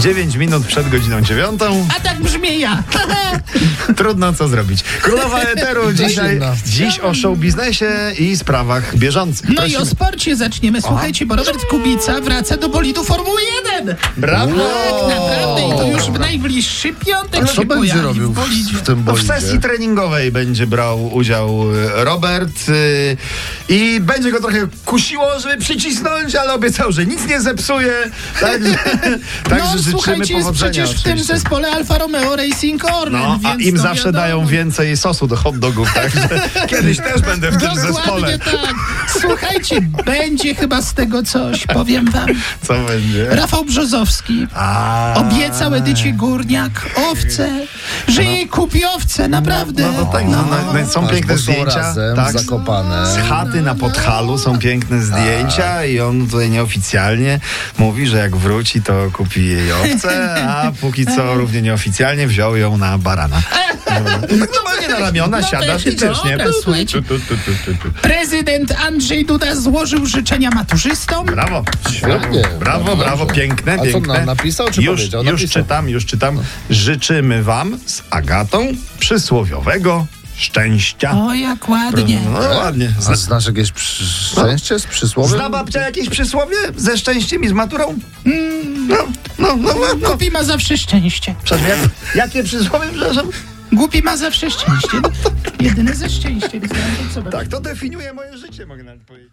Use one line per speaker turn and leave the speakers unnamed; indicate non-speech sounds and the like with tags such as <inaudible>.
9 minut przed godziną dziewiątą.
A tak brzmi ja. <laughs>
Trudno co zrobić. <laughs> Królowa Eteru dzisiaj,
Trudno.
dziś o show biznesie i sprawach bieżących.
No i o
Prosimy.
sporcie zaczniemy. Słuchajcie, bo Robert Kubica wraca do bolidu Formuły 1.
Brawo!
Tak naprawdę i to już w najbliższy piątek
Co
się
będzie
pojawi
robił
w bolidzie.
w tym
No w
bolidzie?
sesji treningowej będzie brał udział y, Robert y, i będzie go trochę kusiło, żeby przycisnąć, ale obiecał, że nic nie zepsuje. Tak, Także, <laughs> także
no
życzymy
słuchajcie, jest
powodzenia.
przecież w tym
oczywiście.
zespole Alfa Romeo Racing Orlen,
No, a
więc
im
to
zawsze
wiadomo.
dają więcej sosu do hot dogów, <laughs> także kiedyś też będę w tym
Dokładnie
zespole.
tak. Słuchajcie, będzie chyba z tego coś, powiem wam.
Co będzie?
Rafał Brzozowski
A,
obiecał Edycie Górniak owce, że jej kupi owce, naprawdę.
no to tak, no, no, no, są
Aż,
piękne
bo są
zdjęcia.
razem
tak,
zakopane.
Z Tak. chaty na Podhalu są piękne zdjęcia i on tutaj nieoficjalnie mówi, że jak wróci, to kupi jej owce, a póki
<laughs>
co równie nieoficjalnie wziął ją na barana. Dobra. Tak normalnie na ramiona
No to
siadasz i
jest
grzecznie.
dobra, słuchajcie.
Tu, tu, tu, tu, tu.
Prezydent Andrzej Duda złożył życzenia maturzystom.
Brawo.
Świetnie.
Brawo, brawo, piękne,
A co,
piękne.
na- napisał czy
już,
powiedział?
Już
Napisał.
czytam, już czytam. Życzymy wam z Agatą przysłowiowego szczęścia.
O, jak ładnie.
No ładnie.
A znasz jakieś przy- szczęście z przysłowiem?
Zna babcia jakieś przysłowie ze szczęściem i z maturą? No, no, no, no. no.
Głupi ma zawsze szczęście.
Przepraszam, jak, jakie przysłowie, przepraszam?
Głupi
<laughs>
ma zawsze szczęście. Jedyne ze szczęściem. Zresztą, co
Tak, to definiuje moje życie, mogę nawet powiedzieć.